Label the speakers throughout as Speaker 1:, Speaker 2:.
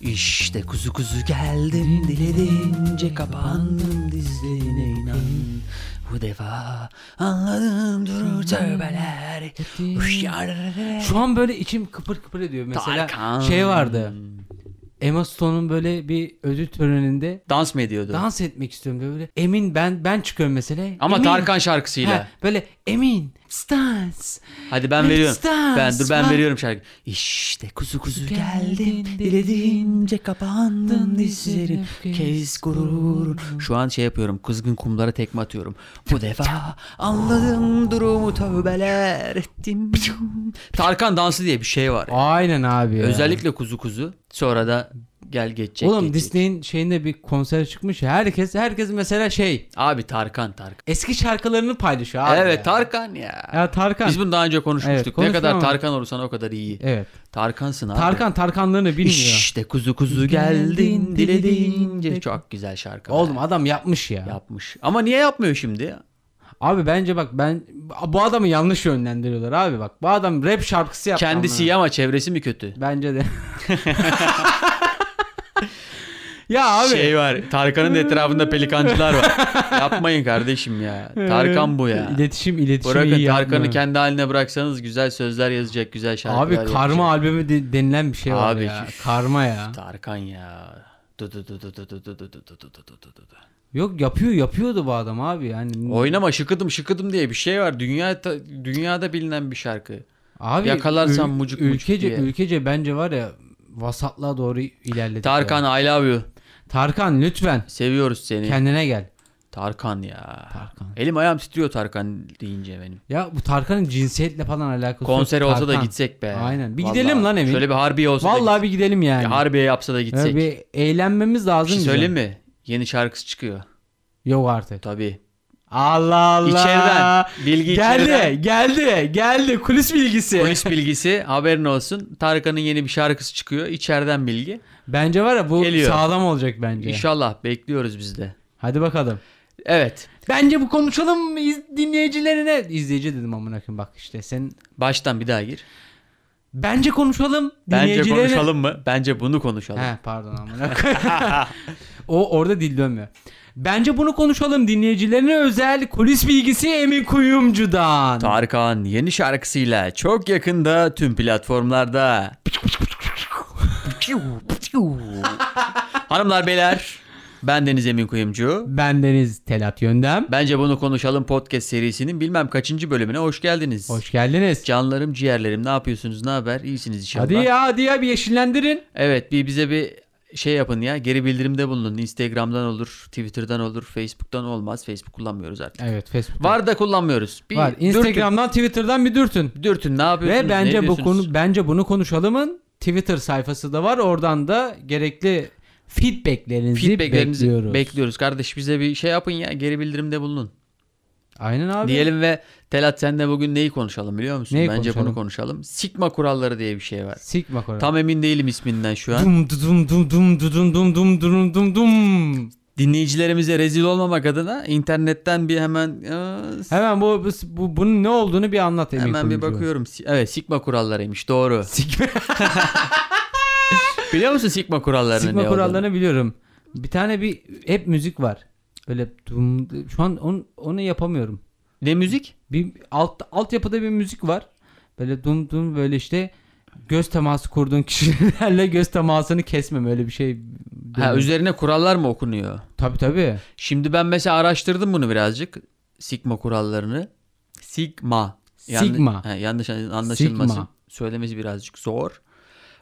Speaker 1: İşte kuzu kuzu geldim diledince kapandım dizlerine inan Bu defa anladım durur tövbeler Uş yarar-
Speaker 2: Şu an böyle içim kıpır kıpır ediyor. Mesela
Speaker 1: Tarkan.
Speaker 2: şey vardı. Emma Stone'un böyle bir ödül töreninde
Speaker 1: Dans mı ediyordu?
Speaker 2: dans etmek istiyorum diyor. Böyle emin ben ben çıkıyorum mesela.
Speaker 1: Ama
Speaker 2: Emin.
Speaker 1: Tarkan
Speaker 2: Ha,
Speaker 1: şarkısıyla.
Speaker 2: böyle emin stans.
Speaker 1: Hadi ben
Speaker 2: Let's
Speaker 1: veriyorum.
Speaker 2: dance,
Speaker 1: Ben dur ben
Speaker 2: man.
Speaker 1: veriyorum şarkı. İşte kuzu kuzu geldim
Speaker 2: Geldin,
Speaker 1: dilediğince kapandın
Speaker 2: kapandın
Speaker 1: dizlerin
Speaker 2: dizlerin,
Speaker 1: kes
Speaker 2: kes
Speaker 1: gurur. Şu an şey yapıyorum kızgın kumlara tekme atıyorum. Bu defa anladım durumu tövbeler ettim. Tarkan dansı diye bir şey var.
Speaker 2: Aynen abi. ya.
Speaker 1: Özellikle kuzu kuzu sonra da gel geçecek.
Speaker 2: Oğlum
Speaker 1: geçecek.
Speaker 2: Disney'in şeyinde bir konser çıkmış. ya. Herkes herkes mesela şey
Speaker 1: Abi Tarkan Tarkan.
Speaker 2: eski şarkılarını paylaşıyor abi.
Speaker 1: evet
Speaker 2: ya.
Speaker 1: Tarkan ya.
Speaker 2: Ya Tarkan.
Speaker 1: Biz bunu daha önce
Speaker 2: Evet,
Speaker 1: konuşmuştuk. ne
Speaker 2: konuştuk
Speaker 1: kadar
Speaker 2: ama-
Speaker 1: Tarkan olursan o kadar iyi.
Speaker 2: Evet.
Speaker 1: Tarkansın abi.
Speaker 2: Tarkan Tarkanlığını bilmiyor.
Speaker 1: İşte kuzu kuzu geldin dilediğince
Speaker 2: Dilediğince-
Speaker 1: çok güzel şarkı. be.
Speaker 2: Oğlum adam yapmış ya.
Speaker 1: yapmış. Ama niye yapmıyor şimdi?
Speaker 2: Abi bence bak ben bu adamı yanlış yönlendiriyorlar abi bak. Bu adam rap şarkısı yaptı.
Speaker 1: Kendisi iyi ama çevresi mi kötü?
Speaker 2: ama. Bence de. ya abi.
Speaker 1: Şey var. Tarkan'ın etrafında pelikancılar var. Yapmayın kardeşim ya. Tarkan bu ya.
Speaker 2: İletişim iletişim
Speaker 1: Bırakın
Speaker 2: iyi
Speaker 1: Tarkan'ı
Speaker 2: yapmıyor.
Speaker 1: kendi haline bıraksanız güzel sözler yazacak, güzel şarkılar
Speaker 2: Abi
Speaker 1: yapacak.
Speaker 2: karma albümü de- denilen bir şey var
Speaker 1: Abi,
Speaker 2: ya.
Speaker 1: üf.
Speaker 2: Karma ya.
Speaker 1: Tarkan ya. Du du du du du du du du du du du du du.
Speaker 2: Yok yapıyor yapıyordu bu adam abi yani.
Speaker 1: Oynama şıkıdım şıkıdım diye bir şey var. Dünya dünyada bilinen bir şarkı.
Speaker 2: Abi
Speaker 1: Yakalarsan
Speaker 2: ül-
Speaker 1: mucuk mucuk
Speaker 2: ülkece
Speaker 1: diye.
Speaker 2: ülkece bence var ya vasatlığa doğru ilerledik. ya.
Speaker 1: Tarkan I love you.
Speaker 2: Tarkan lütfen
Speaker 1: Seviyoruz seni.
Speaker 2: kendine gel.
Speaker 1: Tarkan ya.
Speaker 2: Tarkan.
Speaker 1: Elim ayağım titriyor Tarkan deyince benim.
Speaker 2: Ya bu Tarkan'ın cinsiyetle falan alakası yok.
Speaker 1: Konser olsa da
Speaker 2: Tarkan.
Speaker 1: gitsek be.
Speaker 2: Aynen. Bir
Speaker 1: Vallahi.
Speaker 2: gidelim lan Emin.
Speaker 1: Şöyle bir harbiye olsa da
Speaker 2: Vallahi bir gidelim yani.
Speaker 1: gitsek. Harbiye yapsa da
Speaker 2: Ya
Speaker 1: gitsek. bir
Speaker 2: bir eğlenmemiz lazım.
Speaker 1: şey
Speaker 2: bizim.
Speaker 1: söyleyeyim mi? Yeni şarkısı çıkıyor.
Speaker 2: Yok artık.
Speaker 1: Tabii.
Speaker 2: Allah Allah.
Speaker 1: İçeriden. Bilgi
Speaker 2: geldi,
Speaker 1: içeriden.
Speaker 2: geldi, geldi. Kulis bilgisi.
Speaker 1: Polis bilgisi haberin olsun. Tarkan'ın yeni bir şarkısı çıkıyor. İçeriden bilgi.
Speaker 2: Bence var ya bu
Speaker 1: Geliyor.
Speaker 2: sağlam olacak bence.
Speaker 1: İnşallah bekliyoruz biz de.
Speaker 2: Hadi bakalım.
Speaker 1: Evet.
Speaker 2: Bence bu konuşalım mı iz- dinleyicilerine. İzleyici dedim amına koyayım bak işte sen.
Speaker 1: Baştan bir daha gir.
Speaker 2: Bence konuşalım.
Speaker 1: Bence
Speaker 2: dinleyicilerine-
Speaker 1: konuşalım mı? Bence bunu konuşalım.
Speaker 2: He pardon amına koyayım. o orada dil dönmüyor. Bence bunu konuşalım dinleyicilerine özel kulis bilgisi Emin Kuyumcu'dan.
Speaker 1: Tarkan yeni şarkısıyla çok yakında tüm platformlarda. Hanımlar beyler ben Deniz Emin Kuyumcu.
Speaker 2: Ben Deniz Telat Yöndem.
Speaker 1: Bence bunu konuşalım podcast serisinin bilmem kaçıncı bölümüne hoş geldiniz.
Speaker 2: Hoş geldiniz.
Speaker 1: Canlarım ciğerlerim ne yapıyorsunuz ne haber İyisiniz inşallah.
Speaker 2: Hadi ya hadi ya bir yeşillendirin.
Speaker 1: Evet bir bize bir şey yapın ya geri bildirimde bulunun. Instagram'dan olur Twitter'dan olur Facebook'tan olmaz Facebook kullanmıyoruz artık.
Speaker 2: Evet Facebook.
Speaker 1: Var da kullanmıyoruz. Bir
Speaker 2: Var.
Speaker 1: dürtün-
Speaker 2: Instagram'dan Twitter'dan bir dürtün.
Speaker 1: Dürtün, ne yapıyorsunuz?
Speaker 2: Ve
Speaker 1: ne
Speaker 2: bence bu
Speaker 1: ediyorsunuz?
Speaker 2: konu bence bunu konuşalımın Twitter sayfası da var. Oradan da gerekli feedbacklerinizi,
Speaker 1: feedbacklerinizi bekliyoruz.
Speaker 2: bekliyoruz.
Speaker 1: Kardeş bize bir şey yapın ya geri bildirimde bulunun.
Speaker 2: Aynen abi.
Speaker 1: Diyelim ve Telat senle bugün neyi konuşalım biliyor musun?
Speaker 2: Neyi
Speaker 1: Bence bunu
Speaker 2: konuşalım?
Speaker 1: konuşalım. Sigma kuralları diye bir şey var.
Speaker 2: Sigma Kore.
Speaker 1: Tam emin değilim isminden şu an.
Speaker 2: Dum dum dum dum dum dum dum dum dum dum.
Speaker 1: Dinleyicilerimize rezil olmamak adına internetten bir hemen ıı,
Speaker 2: Hemen bu, bu, bu- bunun ne olduğunu bir anlat Emin
Speaker 1: hemen bir
Speaker 2: Kuyumcu.
Speaker 1: bakıyorum. Si- Evet Sigma kurallarıymış doğru.
Speaker 2: Sigma,
Speaker 1: Biliyor musun Sigma kurallarını
Speaker 2: Sigma
Speaker 1: Hani ne
Speaker 2: kurallarını
Speaker 1: olduğunu?
Speaker 2: biliyorum. Bir tane bir hep müzik var. Böyle dum, şu an onu, onu yapamıyorum.
Speaker 1: Ne müzik?
Speaker 2: Bir alt altyapıda bir müzik var. Böyle dum dum böyle işte göz teması kurduğun kişilerle göz temasını kesmem öyle bir şey.
Speaker 1: Ha, üzerine kurallar mı okunuyor?
Speaker 2: Tabi tabi.
Speaker 1: Şimdi ben mesela araştırdım bunu birazcık. Sigma kurallarını. Sigma.
Speaker 2: Sigma.
Speaker 1: he, yanlış anlaşılmasın.
Speaker 2: Sigma.
Speaker 1: Söylemesi birazcık zor.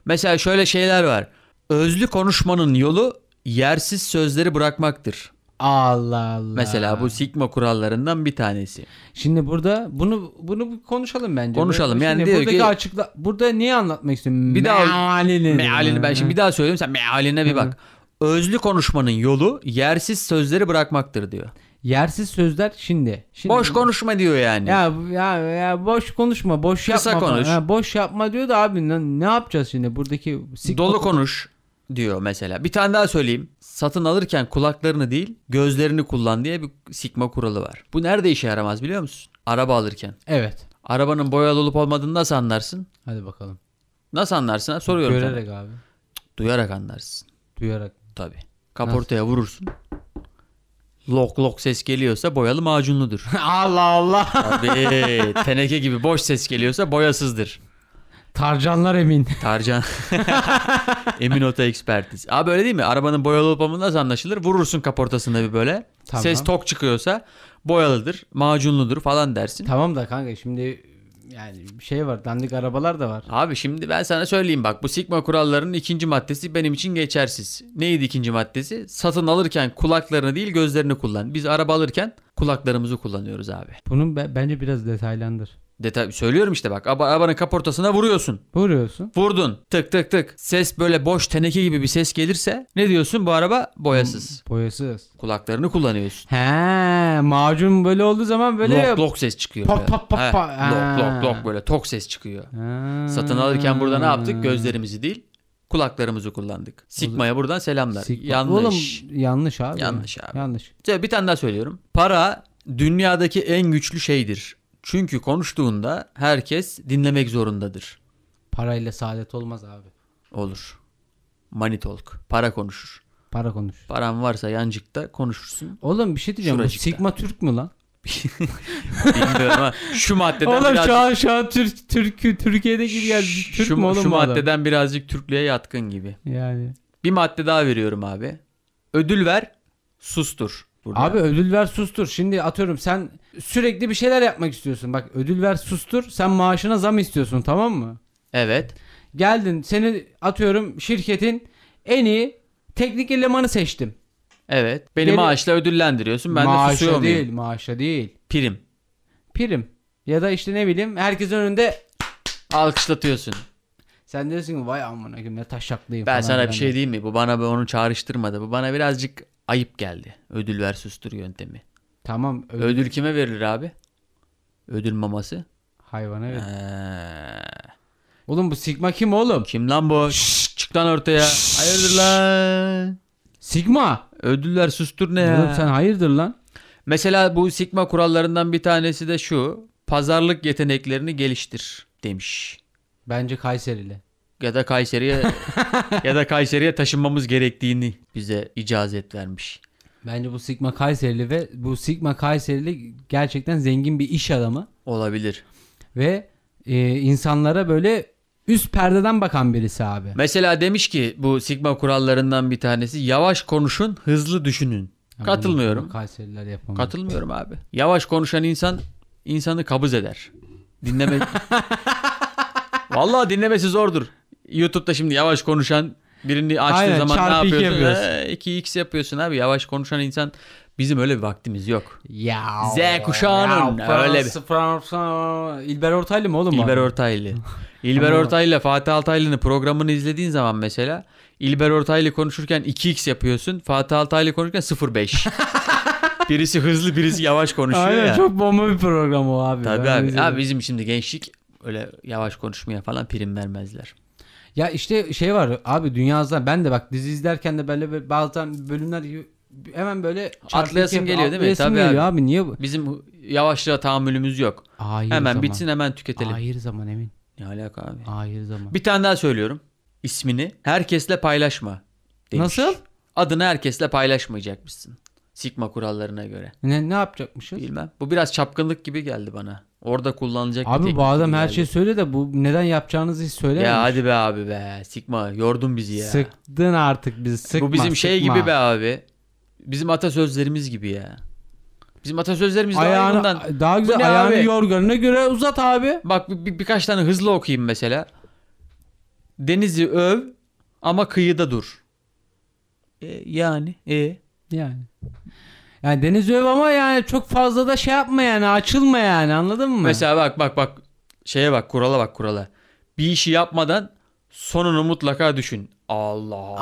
Speaker 1: Mesela şöyle şeyler var. Özlü konuşmanın yolu yersiz sözleri bırakmaktır.
Speaker 2: Allah Allah.
Speaker 1: Mesela bu sigma kurallarından bir tanesi.
Speaker 2: Şimdi burada bunu bunu bir konuşalım bence.
Speaker 1: Konuşalım. Yani
Speaker 2: Şimdi
Speaker 1: diyor
Speaker 2: buradaki
Speaker 1: ki-
Speaker 2: açıkla burada niye anlatmak istiyorum?
Speaker 1: Bir daha-
Speaker 2: mealini.
Speaker 1: Mealini ben şimdi bir daha söyleyeyim sen mealine bir bak. Özlü konuşmanın yolu yersiz sözleri bırakmaktır diyor.
Speaker 2: yersiz sözler şimdi. şimdi
Speaker 1: Boş konuşma diyor yani.
Speaker 2: Ya, ya ya boş konuşma, boş
Speaker 1: Kısa
Speaker 2: yapma.
Speaker 1: konuş.
Speaker 2: Ha, boş yapma diyor da abi ne, ne yapacağız şimdi buradaki sigma-
Speaker 1: Dolu konuş diyor mesela. Bir tane daha söyleyeyim. Satın alırken kulaklarını değil gözlerini kullan diye bir sikma kuralı var. Bu nerede işe yaramaz biliyor musun? Araba alırken.
Speaker 2: Evet.
Speaker 1: Arabanın boyalı olup olmadığını nasıl anlarsın?
Speaker 2: Hadi bakalım.
Speaker 1: Nasıl anlarsın? ha? Soruyorum sana.
Speaker 2: Görerek abi.
Speaker 1: Duyarak anlarsın.
Speaker 2: Duyarak.
Speaker 1: Tabii. Kaportaya vurursun. Lok lok ses geliyorsa boyalı macunludur.
Speaker 2: Allah Allah.
Speaker 1: Tabii. Teneke gibi boş ses geliyorsa boyasızdır.
Speaker 2: Tarcanlar emin.
Speaker 1: Tarcan. Emin Oto Ekspertiz. Abi öyle değil mi? Arabanın boyalı olup olmadığı nasıl anlaşılır? Vurursun kaportasında bir böyle.
Speaker 2: Tamam.
Speaker 1: Ses tok çıkıyorsa boyalıdır, macunludur falan dersin.
Speaker 2: Tamam da kanka şimdi yani bir şey var. Dandik arabalar da var.
Speaker 1: Abi şimdi ben sana söyleyeyim bak bu Sigma kurallarının ikinci maddesi benim için geçersiz. Neydi ikinci maddesi? Satın alırken kulaklarını değil gözlerini kullan. Biz araba alırken kulaklarımızı kullanıyoruz abi.
Speaker 2: Bunun be- bence biraz detaylandır.
Speaker 1: Detay söylüyorum işte bak araba- arabanın kaportasına vuruyorsun.
Speaker 2: Vuruyorsun.
Speaker 1: Vurdun tık tık tık ses böyle boş teneke gibi bir ses gelirse ne diyorsun bu araba boyasız.
Speaker 2: Boyasız.
Speaker 1: Kulaklarını kullanıyorsun.
Speaker 2: He, macun böyle olduğu zaman böyle
Speaker 1: lok lok ses çıkıyor.
Speaker 2: Pop,
Speaker 1: böyle.
Speaker 2: pop, pop,
Speaker 1: He,
Speaker 2: pop.
Speaker 1: Lok
Speaker 2: Ha.
Speaker 1: lok lok böyle tok ses çıkıyor.
Speaker 2: Ha.
Speaker 1: Satın alırken burada ne
Speaker 2: Hmm.
Speaker 1: yaptık? Gözlerimizi değil kulaklarımızı kullandık. Sigma'ya buradan selamlar.
Speaker 2: Sigma-
Speaker 1: Yanlış.
Speaker 2: Oğlum, yanlış abi.
Speaker 1: Yanlış abi.
Speaker 2: Yanlış.
Speaker 1: Ya Bir tane daha söylüyorum. Para dünyadaki en güçlü şeydir. Çünkü konuştuğunda herkes dinlemek zorundadır.
Speaker 2: Parayla saadet olmaz abi.
Speaker 1: Olur. Money talk. Para konuşur.
Speaker 2: Para konuş.
Speaker 1: Paran varsa yancıkta konuşursun.
Speaker 2: Oğlum bir şey diyeceğim. Bu
Speaker 1: Şuracıkta.
Speaker 2: Sigma Türk mü lan?
Speaker 1: Bilmiyorum ama şu maddeden
Speaker 2: Oğlum
Speaker 1: birazcık,
Speaker 2: şu an, şu an Türk, Türk, Türkiye'deki bir yer. Türk
Speaker 1: şu,
Speaker 2: mü oğlum
Speaker 1: şu
Speaker 2: bu adam?
Speaker 1: maddeden birazcık Türklüğe yatkın gibi.
Speaker 2: Yani.
Speaker 1: Bir madde daha veriyorum abi. Ödül ver, sustur. Burada.
Speaker 2: Abi ödül ver sustur. Şimdi atıyorum sen sürekli bir şeyler yapmak istiyorsun. Bak ödül ver sustur. Sen maaşına zam istiyorsun tamam mı?
Speaker 1: Evet.
Speaker 2: Geldin seni atıyorum şirketin en iyi teknik elemanı seçtim.
Speaker 1: Evet. Beni
Speaker 2: Beni-
Speaker 1: maaşla ödüllendiriyorsun. Ben de susuyor
Speaker 2: maaşa
Speaker 1: muyum?
Speaker 2: değil maaşa değil.
Speaker 1: Prim.
Speaker 2: Prim. Ya da işte ne bileyim herkesin önünde
Speaker 1: Alkışlatıyorsun.
Speaker 2: sen diyorsun ki vay amına koyayım ne taşaklıyım
Speaker 1: Ben
Speaker 2: falan
Speaker 1: sana
Speaker 2: filan
Speaker 1: bir
Speaker 2: diye.
Speaker 1: şey diyeyim mi? Bu bana onu çağrıştırmadı. Bu bana birazcık ayıp geldi. Ödül ver sustur yöntemi.
Speaker 2: Tamam ödül
Speaker 1: Ödül kime verilir abi? Ödül maması.
Speaker 2: hayvana ver.
Speaker 1: Ee,
Speaker 2: Oğlum bu Sigma kim oğlum?
Speaker 1: kim lan bu? Şşş, çık lan ortaya. Hayırdır lan?
Speaker 2: Sigma.
Speaker 1: Ödüller sustur ne
Speaker 2: Oğlum
Speaker 1: ya?
Speaker 2: sen hayırdır lan?
Speaker 1: Mesela bu Sigma kurallarından bir tanesi de şu. Pazarlık yeteneklerini geliştir demiş.
Speaker 2: Bence Kayserili.
Speaker 1: ya da Kayseri'ye ya da Kayseri'ye taşınmamız gerektiğini bize icazet vermiş.
Speaker 2: Bence bu Sigma Kayserili ve bu Sigma Kayserili gerçekten zengin bir iş adamı
Speaker 1: Olabilir.
Speaker 2: ve e, insanlara böyle üst perdeden bakan birisi abi.
Speaker 1: Mesela demiş ki bu Sigma kurallarından bir tanesi yavaş konuşun, hızlı düşünün.
Speaker 2: Yani
Speaker 1: Katılmıyorum.
Speaker 2: bunu Kayseriler yapamıyor.
Speaker 1: Katılmıyorum abi. Yavaş konuşan insan insanı kabız eder. Dinleme Vallahi dinlemesi zordur. YouTube'da şimdi yavaş konuşan birini açtığı
Speaker 2: Aynen,
Speaker 1: zaman ne
Speaker 2: çarpı iki
Speaker 1: yapıyorsun?
Speaker 2: yapıyoruz.
Speaker 1: Ee, 2x yapıyorsun abi. Yavaş konuşan insan bizim öyle bir vaktimiz yok.
Speaker 2: Ya.
Speaker 1: Z kuşağının
Speaker 2: Ya,
Speaker 1: öyle
Speaker 2: Fransa, Fransa. İlber Ortaylı mı oğlum? bu
Speaker 1: İlber
Speaker 2: adam?
Speaker 1: Ortaylı. İlber
Speaker 2: Tamam.
Speaker 1: Ortaylı ile Fatih Altaylı'nın programını izlediğin zaman mesela İlber Ortaylı konuşurken 2x yapıyorsun. Fatih Altaylı konuşurken 0.5. birisi hızlı birisi yavaş konuşuyor
Speaker 2: Aynen
Speaker 1: ya.
Speaker 2: çok bomba bir program o abi.
Speaker 1: Tabii
Speaker 2: Ben
Speaker 1: abi.
Speaker 2: izledim.
Speaker 1: abi. bizim şimdi gençlik öyle yavaş konuşmaya falan prim vermezler.
Speaker 2: Ya işte şey var abi dünya azından ben de bak dizi izlerken de böyle, böyle bazen bölümler gibi hemen böyle çarpı
Speaker 1: Atlayasın
Speaker 2: ikiye-
Speaker 1: geliyor değil mi?
Speaker 2: atlayasın
Speaker 1: Tabii
Speaker 2: geliyor abi. niye bu?
Speaker 1: Bizim yavaşlığa tahammülümüz yok.
Speaker 2: Hayır
Speaker 1: hemen
Speaker 2: zaman.
Speaker 1: bitsin hemen tüketelim.
Speaker 2: Hayır zaman emin.
Speaker 1: Ne alaka abi?
Speaker 2: Hayır zaman.
Speaker 1: Bir tane daha söylüyorum. İsmini herkesle paylaşma. demiş.
Speaker 2: Nasıl?
Speaker 1: Adını herkesle paylaşmayacakmışsın. Sigma kurallarına göre.
Speaker 2: Ne ne yapacakmışız?
Speaker 1: Bilmem. Bu biraz çapkınlık gibi geldi bana. Orada kullanılacak bir
Speaker 2: Abi
Speaker 1: teknik
Speaker 2: bu adam
Speaker 1: gibi
Speaker 2: her
Speaker 1: geldi.
Speaker 2: şeyi söyle de bu neden yapacağınızı hiç söylememiş.
Speaker 1: Ya hadi be abi be. Sigma yordun bizi ya.
Speaker 2: Sıktın artık bizi sıkma.
Speaker 1: Bu bizim şey
Speaker 2: sıkma.
Speaker 1: gibi be abi. Bizim atasözlerimiz gibi ya. Bizim atasözlerimiz daha iyi
Speaker 2: Ayağını,
Speaker 1: bundan.
Speaker 2: daha
Speaker 1: Bu ne
Speaker 2: güzel ayağını
Speaker 1: abi?
Speaker 2: yorganına göre uzat abi.
Speaker 1: Bak bir- bir- birkaç tane hızlı okuyayım mesela. Denizi öv ama kıyıda dur. E, yani e
Speaker 2: Yani. Yani Deniz Öv ama yani çok fazla da şey yapma yani açılma yani anladın mı?
Speaker 1: Mesela bak bak bak şeye bak kurala bak kurala. Bir işi yapmadan sonunu mutlaka düşün. Allah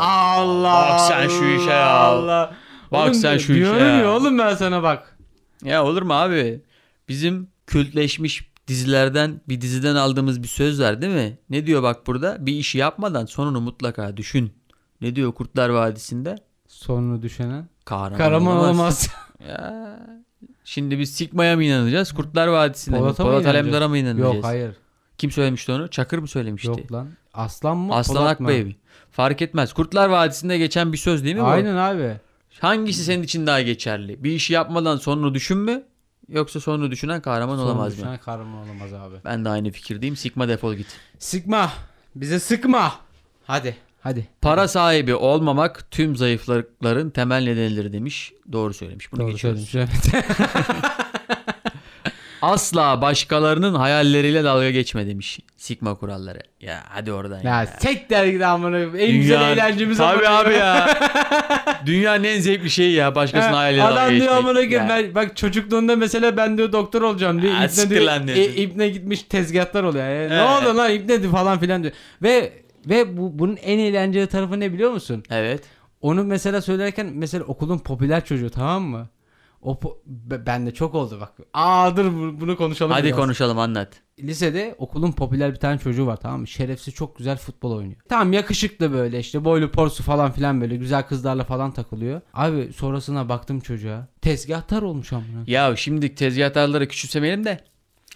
Speaker 1: Bak sen şu işe ya.
Speaker 2: Allah.
Speaker 1: Bak
Speaker 2: Oğlum,
Speaker 1: sen şu işe
Speaker 2: diyorum
Speaker 1: ya.
Speaker 2: ya oğlum ben sana bak.
Speaker 1: Ya olur mu abi? Bizim kültleşmiş dizilerden bir diziden aldığımız bir söz var değil mi? Ne diyor bak burada? Bir işi yapmadan sonunu mutlaka düşün. Ne diyor Kurtlar Vadisi'nde?
Speaker 2: Sonunu düşenen.
Speaker 1: Kahraman,
Speaker 2: Karaman
Speaker 1: olamaz.
Speaker 2: olamaz.
Speaker 1: Ya. Şimdi biz Sigma'ya mı inanacağız? Kurtlar Vadisi'ne mi?
Speaker 2: Polat'a mı
Speaker 1: Polat
Speaker 2: inanacağız?
Speaker 1: Alemdar'a mı inanacağız?
Speaker 2: Yok hayır.
Speaker 1: Kim söylemişti onu? Çakır mı söylemişti?
Speaker 2: Yok lan. Aslan mı? Polat
Speaker 1: Aslanak
Speaker 2: mı?
Speaker 1: Baby. Fark etmez. Kurtlar Vadisi'nde geçen bir söz değil mi bu?
Speaker 2: Aynen abi.
Speaker 1: Hangisi senin için daha geçerli? Bir işi yapmadan sonunu düşünme yoksa sonunu düşünen kahraman
Speaker 2: Sonunu
Speaker 1: olamaz mı?
Speaker 2: düşünen kahraman olamaz abi.
Speaker 1: Ben de aynı fikirdeyim. Sikma defol git.
Speaker 2: Sıkma. Bize sıkma. Hadi. Hadi.
Speaker 1: Para sahibi olmamak tüm zayıflıkların temel nedenidir demiş. Doğru söylemiş. Bunu
Speaker 2: Doğru
Speaker 1: geçiyoruz.
Speaker 2: söylemiş.
Speaker 1: Asla başkalarının hayalleriyle dalga geçme demiş. Sigma kuralları. Ya hadi oradan ya.
Speaker 2: ya tek dergide amına. En güzel eğlencemiz
Speaker 1: Tabii
Speaker 2: amına.
Speaker 1: abi ya. Dünyanın en zevkli şeyi ya. Başkasının
Speaker 2: Ha,
Speaker 1: hayalleriyle dalga
Speaker 2: Adam
Speaker 1: geçmek.
Speaker 2: diyor amına
Speaker 1: Ya.
Speaker 2: koyayım ben bak çocukluğunda mesela ben diyor doktor olacağım diyor.
Speaker 1: Ha,
Speaker 2: İbne
Speaker 1: siktir
Speaker 2: diyor,
Speaker 1: lan diyor.
Speaker 2: e, İbne gitmiş tezgahlar oluyor. E, ne
Speaker 1: He.
Speaker 2: oldu lan İbne di falan filan diyor. Ve ve bu bunun en eğlenceli tarafı ne biliyor musun?
Speaker 1: Evet.
Speaker 2: Onu mesela söylerken mesela okulun popüler çocuğu tamam mı? O po- be- bende çok oldu bak. Aa dur bu- bunu konuşalım.
Speaker 1: Hadi
Speaker 2: biraz.
Speaker 1: konuşalım anlat.
Speaker 2: Lisede okulun popüler bir tane çocuğu var tamam mı? Şerefsiz çok güzel futbol oynuyor. Tamam yakışıklı böyle işte boylu porsu falan filan böyle güzel kızlarla falan takılıyor. Abi sonrasına baktım çocuğa. Tezgahtar olmuş amına.
Speaker 1: Ya şimdi tezgahtarları küçümsemeyelim de.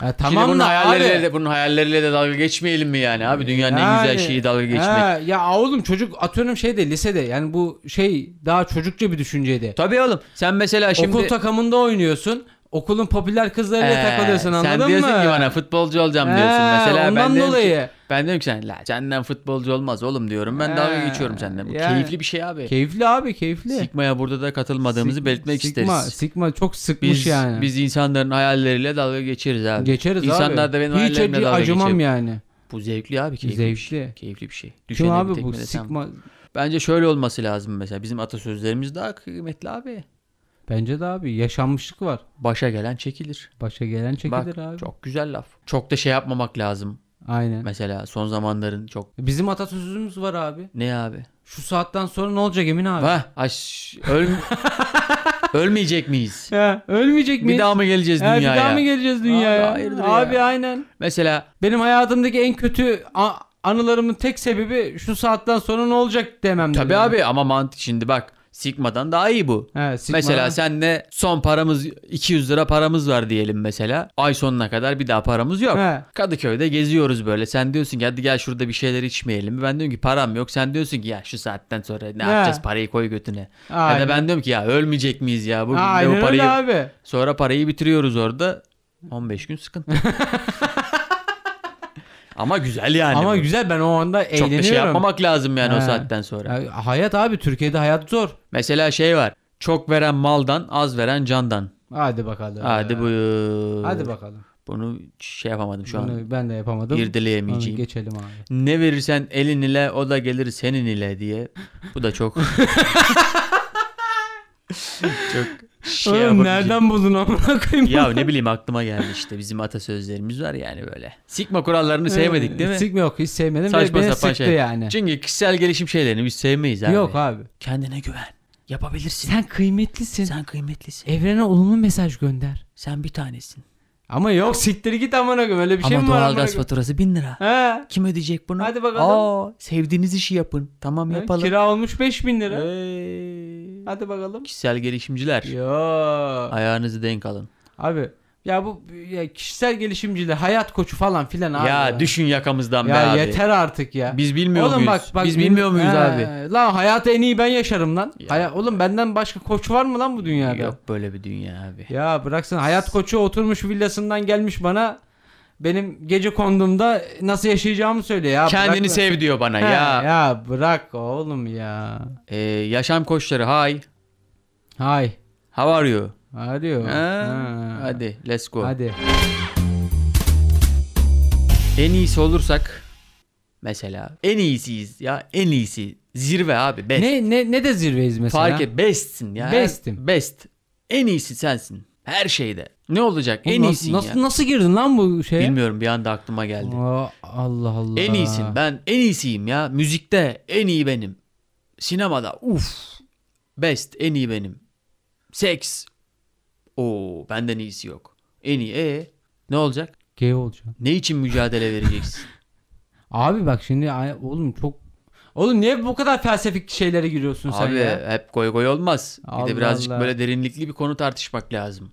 Speaker 2: Ya
Speaker 1: Şimdi
Speaker 2: tamam
Speaker 1: bunun
Speaker 2: da
Speaker 1: hayalleriyle,
Speaker 2: abi.
Speaker 1: de, bunun hayalleriyle de dalga geçmeyelim mi yani abi? Dünyanın en
Speaker 2: Yani,
Speaker 1: güzel şeyi dalga geçmek.
Speaker 2: he, ya oğlum çocuk atıyorum şeyde lisede yani bu şey daha çocukça bir düşünceydi.
Speaker 1: Tabii oğlum. Sen mesela şimdi...
Speaker 2: Okul takımında oynuyorsun. Okulun popüler kızlarıyla
Speaker 1: Ee,
Speaker 2: takılıyorsun anladın
Speaker 1: Sen
Speaker 2: mı?
Speaker 1: diyorsun ki bana futbolcu olacağım diyorsun.
Speaker 2: He,
Speaker 1: Mesela
Speaker 2: ondan
Speaker 1: ben diyorum
Speaker 2: dolayı.
Speaker 1: Ki, ben diyorum ki sen la senden futbolcu olmaz oğlum diyorum. Ben
Speaker 2: He,
Speaker 1: dalga geçiyorum senden. Bu
Speaker 2: yani.
Speaker 1: keyifli bir şey abi.
Speaker 2: Keyifli abi keyifli.
Speaker 1: Sikma'ya burada da katılmadığımızı
Speaker 2: Sik-
Speaker 1: belirtmek
Speaker 2: Sigma,
Speaker 1: isteriz.
Speaker 2: Sigma çok sıkmış
Speaker 1: Biz,
Speaker 2: yani.
Speaker 1: biz insanların hayalleriyle dalga geçeriz abi.
Speaker 2: Geçeriz abi.
Speaker 1: İnsanlar da benim
Speaker 2: Hiç
Speaker 1: hayallerimle
Speaker 2: acı-
Speaker 1: dalga
Speaker 2: acımam
Speaker 1: geçer.
Speaker 2: yani.
Speaker 1: Bu zevkli abi keyifli.
Speaker 2: Zevkli.
Speaker 1: Bir şey. Keyifli bir şey.
Speaker 2: Kim
Speaker 1: Düşene bir
Speaker 2: abi bu
Speaker 1: tekme desem.
Speaker 2: sikma
Speaker 1: Bence şöyle olması lazım mesela. Bizim atasözlerimiz daha kıymetli abi.
Speaker 2: bence de abi yaşanmışlık var.
Speaker 1: Başa gelen çekilir.
Speaker 2: Başa gelen çekilir
Speaker 1: Bak
Speaker 2: abi.
Speaker 1: çok güzel laf. Çok da şey yapmamak lazım.
Speaker 2: Aynen.
Speaker 1: Mesela son zamanların çok
Speaker 2: Bizim atasözümüz var abi.
Speaker 1: ne abi?
Speaker 2: Şu saatten sonra ne olacak Emin abi?
Speaker 1: Vah, aş, öl, ölmeyecek miyiz?
Speaker 2: Ya, ölmeyecek
Speaker 1: Bir
Speaker 2: miyiz?
Speaker 1: daha mı geleceğiz
Speaker 2: Ya, bir
Speaker 1: dünyaya?
Speaker 2: daha mı geleceğiz dünyaya?
Speaker 1: Abi, hayırdır
Speaker 2: abi
Speaker 1: ya.
Speaker 2: aynen.
Speaker 1: Mesela
Speaker 2: Benim hayatımdaki en kötü a- anılarımın tek sebebi şu saatten sonra ne olacak demem.
Speaker 1: tabii abi ama mantık şimdi bak Sigma'dan daha iyi bu.
Speaker 2: He, sikma.
Speaker 1: Mesela senle son paramız 200 lira paramız var diyelim mesela. Ay sonuna kadar bir daha paramız yok.
Speaker 2: He.
Speaker 1: Kadıköy'de geziyoruz böyle. Sen diyorsun ki hadi gel şurada bir şeyler içmeyelim. mi?" Ben diyorum ki param yok. Sen diyorsun ki ya şu saatten sonra ne
Speaker 2: He.
Speaker 1: yapacağız parayı koy götüne. Ya
Speaker 2: Aynen.
Speaker 1: da ben diyorum ki ya ölmeyecek miyiz ya bugün de bu
Speaker 2: Aynen
Speaker 1: parayı.
Speaker 2: öyle abi.
Speaker 1: Sonra parayı bitiriyoruz orada. 15 gün sıkıntı. Ama güzel yani.
Speaker 2: Ama
Speaker 1: bu.
Speaker 2: güzel ben o anda
Speaker 1: Çok
Speaker 2: eğleniyorum.
Speaker 1: da şey yapmamak lazım yani o
Speaker 2: He.
Speaker 1: saatten sonra.
Speaker 2: Ya, hayat abi Türkiye'de hayat zor.
Speaker 1: Mesela şey var. Çok veren maldan, az veren candan.
Speaker 2: Hadi bakalım.
Speaker 1: Hadi buyur.
Speaker 2: Ee, Hadi bakalım.
Speaker 1: Bunu şey yapamadım şu an.
Speaker 2: Bunu ben de yapamadım. Onu
Speaker 1: İrdeleyemeyeceğim.
Speaker 2: geçelim abi.
Speaker 1: Ne verirsen elin ile o da gelir senin ile diye. Bu da çok çok şey
Speaker 2: Oğlum
Speaker 1: yapabileceğim.
Speaker 2: nereden buldun amına koyayım?
Speaker 1: Ya ne bileyim aklıma geldi işte bizim atasözlerimiz var yani böyle. Sigma kurallarını sevmedik değil mi?
Speaker 2: Sigma yok hiç sevmedim
Speaker 1: Saçma
Speaker 2: ve beni
Speaker 1: sapan
Speaker 2: sıktı
Speaker 1: şey.
Speaker 2: yani.
Speaker 1: Çünkü kişisel gelişim şeylerini biz sevmeyiz abi.
Speaker 2: Yok abi.
Speaker 1: Kendine güven. Yapabilirsin.
Speaker 2: Sen kıymetlisin.
Speaker 1: Sen kıymetlisin.
Speaker 2: Evrene olumlu mesaj gönder.
Speaker 1: Sen bir tanesin.
Speaker 2: Ama yok siktir git amına koyayım öyle bir şey
Speaker 1: Ama
Speaker 2: mi var amına
Speaker 1: doğalgaz
Speaker 2: koyayım?
Speaker 1: faturası bin lira.
Speaker 2: He.
Speaker 1: Kim ödeyecek bunu?
Speaker 2: Hadi bakalım.
Speaker 1: Aa, sevdiğiniz işi yapın. Tamam yapalım.
Speaker 2: Kira olmuş 5000 lira.
Speaker 1: Hey.
Speaker 2: Hadi bakalım.
Speaker 1: Kişisel gelişimciler.
Speaker 2: Yo.
Speaker 1: Ayağınızı denk alın.
Speaker 2: Abi ya bu ya kişisel gelişimciler, hayat koçu falan filan abi.
Speaker 1: Ya düşün yakamızdan be
Speaker 2: Ya
Speaker 1: abi.
Speaker 2: yeter artık ya.
Speaker 1: Biz bilmiyor muyuz? Biz bilmiyor muyuz
Speaker 2: He,
Speaker 1: abi?
Speaker 2: Lan hayatı en iyi ben yaşarım lan.
Speaker 1: Ya.
Speaker 2: Haya- oğlum benden başka koç var mı lan bu dünyada?
Speaker 1: Yok böyle bir dünya abi.
Speaker 2: Ya bıraksın hayat koçu oturmuş villasından gelmiş bana benim gece kondumda nasıl yaşayacağımı söyle ya.
Speaker 1: Kendini
Speaker 2: bırak-
Speaker 1: sev diyor bana
Speaker 2: He,
Speaker 1: ya.
Speaker 2: Ya bırak oğlum ya.
Speaker 1: Ee, yaşam koçları hi.
Speaker 2: Hay.
Speaker 1: How are you?
Speaker 2: Arıyor.
Speaker 1: Ha? Hadi let's go.
Speaker 2: Hadi.
Speaker 1: En iyisi olursak mesela en iyisiyiz ya en iyisi zirve abi best.
Speaker 2: Ne ne ne de zirveyiz mesela.
Speaker 1: Fark et bestsin ya.
Speaker 2: Bestim.
Speaker 1: Best. En iyisi sensin. Her şeyde. Ne olacak?
Speaker 2: Oğlum
Speaker 1: en
Speaker 2: nas-
Speaker 1: iyisin
Speaker 2: nasıl,
Speaker 1: ya.
Speaker 2: Nasıl girdin lan bu şeye?
Speaker 1: Bilmiyorum bir anda aklıma geldi.
Speaker 2: Aa, Allah Allah.
Speaker 1: En iyisin. Ben en iyisiyim ya. Müzikte en iyi benim. Sinemada uf. Best en iyi benim. Seks. Oo benden iyisi yok. En iyi. E ne olacak?
Speaker 2: Gay olacaksın.
Speaker 1: Ne için mücadele vereceksin?
Speaker 2: Abi bak şimdi ay- oğlum çok Oğlum niye bu kadar felsefik şeylere giriyorsun sen
Speaker 1: Abi
Speaker 2: ya?
Speaker 1: hep koy koy olmaz. bir
Speaker 2: Allah
Speaker 1: de birazcık
Speaker 2: Allah.
Speaker 1: böyle derinlikli bir konu tartışmak lazım.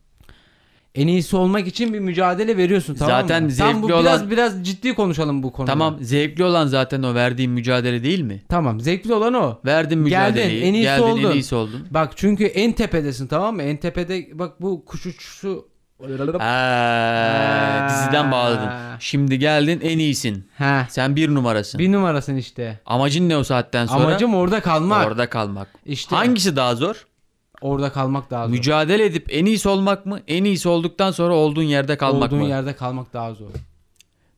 Speaker 2: En iyisi olmak için bir mücadele veriyorsun tamam
Speaker 1: Zaten
Speaker 2: mı? Tamam, bu
Speaker 1: zevkli
Speaker 2: biraz
Speaker 1: olan-
Speaker 2: biraz ciddi konuşalım bu konuda.
Speaker 1: Tamam zevkli olan zaten o verdiğin mücadele değil mi?
Speaker 2: Tamam. Zevkli olan o.
Speaker 1: Verdin
Speaker 2: Geldin,
Speaker 1: mücadeleyi.
Speaker 2: en iyisi
Speaker 1: geldin,
Speaker 2: oldun.
Speaker 1: en iyisi oldun.
Speaker 2: Bak çünkü en tepedesin tamam mı? En tepede bak bu kuş uçuşu
Speaker 1: Ha, diziden bağladın. Şimdi geldin en iyisin.
Speaker 2: Ha.
Speaker 1: Sen bir numarasın.
Speaker 2: Bir numarasın işte.
Speaker 1: Amacın ne o saatten sonra?
Speaker 2: Amacım orada kalmak.
Speaker 1: orada kalmak.
Speaker 2: İşte
Speaker 1: Hangisi daha zor?
Speaker 2: orada kalmak daha zor.
Speaker 1: Mücadele edip en iyisi olmak mı? En iyisi olduktan sonra olduğun yerde kalmak
Speaker 2: Olduğun
Speaker 1: mı?
Speaker 2: yerde kalmak daha zor.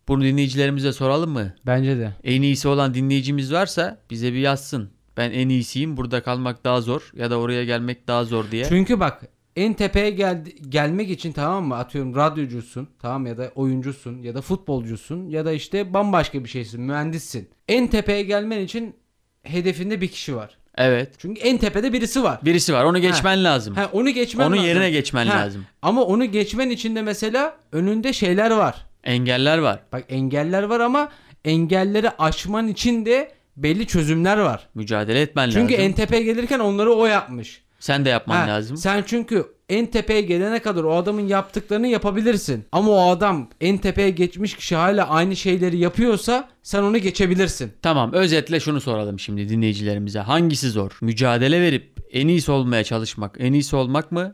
Speaker 1: Bunu dinleyicilerimize soralım mı?
Speaker 2: Bence de.
Speaker 1: En iyisi olan dinleyicimiz varsa bize bir yazsın. Ben en iyisiyim. Burada kalmak daha zor ya da oraya gelmek daha zor diye.
Speaker 2: Çünkü bak en tepeye gel- gelmek için tamam mı atıyorum radyocusun tamam mı? ya da oyuncusun ya da futbolcusun ya da işte bambaşka bir şeysin mühendissin. En tepeye gelmen için hedefinde bir kişi var.
Speaker 1: Evet.
Speaker 2: Çünkü en tepede birisi var.
Speaker 1: Birisi var. Onu geçmen lazım.
Speaker 2: Ha, onu geçmen
Speaker 1: Onun
Speaker 2: lazım.
Speaker 1: yerine geçmen
Speaker 2: Ha,
Speaker 1: lazım.
Speaker 2: Ama onu geçmen için de mesela önünde şeyler var.
Speaker 1: Engeller var.
Speaker 2: Bak engeller var ama engelleri aşman için de belli çözümler var.
Speaker 1: Mücadele etmen
Speaker 2: Çünkü
Speaker 1: lazım.
Speaker 2: en tepeye gelirken onları o yapmış.
Speaker 1: Sen de yapman
Speaker 2: Ha,
Speaker 1: lazım.
Speaker 2: Sen çünkü en tepeye gelene kadar o adamın yaptıklarını yapabilirsin. Ama o adam en tepeye geçmiş kişi hala aynı şeyleri yapıyorsa sen onu geçebilirsin.
Speaker 1: Tamam özetle şunu soralım şimdi dinleyicilerimize. Hangisi zor? Mücadele verip en iyisi olmaya çalışmak. En iyisi olmak mı?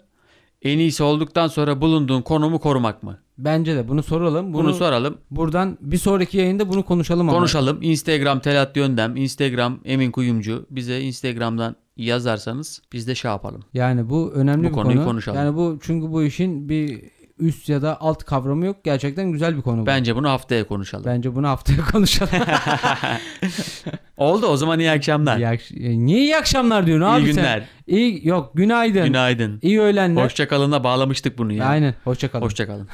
Speaker 1: En iyisi olduktan sonra bulunduğun konumu korumak mı?
Speaker 2: Bence de bunu soralım. Bunu,
Speaker 1: Bunu soralım.
Speaker 2: buradan bir sonraki yayında bunu konuşalım ama.
Speaker 1: Konuşalım. Instagram Telat Yöndem, Instagram Emin Kuyumcu. Bize Instagram'dan yazarsanız biz de şey yapalım.
Speaker 2: Yani bu önemli
Speaker 1: Bu
Speaker 2: bir
Speaker 1: konuyu
Speaker 2: konu.
Speaker 1: konuşalım.
Speaker 2: Yani bu çünkü bu işin bir üst ya da alt kavramı yok. Gerçekten güzel bir konu bu.
Speaker 1: Bence bunu haftaya konuşalım.
Speaker 2: Bence bunu haftaya konuşalım.
Speaker 1: Oldu o zaman iyi akşamlar.
Speaker 2: İyi akş- e, Niye iyi akşamlar diyorsun abi
Speaker 1: iyi
Speaker 2: sen?
Speaker 1: günler.
Speaker 2: İyi yok günaydın.
Speaker 1: Günaydın.
Speaker 2: İyi öğlenler.
Speaker 1: Hoşçakalın'a bağlamıştık bunu ya.
Speaker 2: Aynen hoşça kalın.
Speaker 1: Hoşçakalın.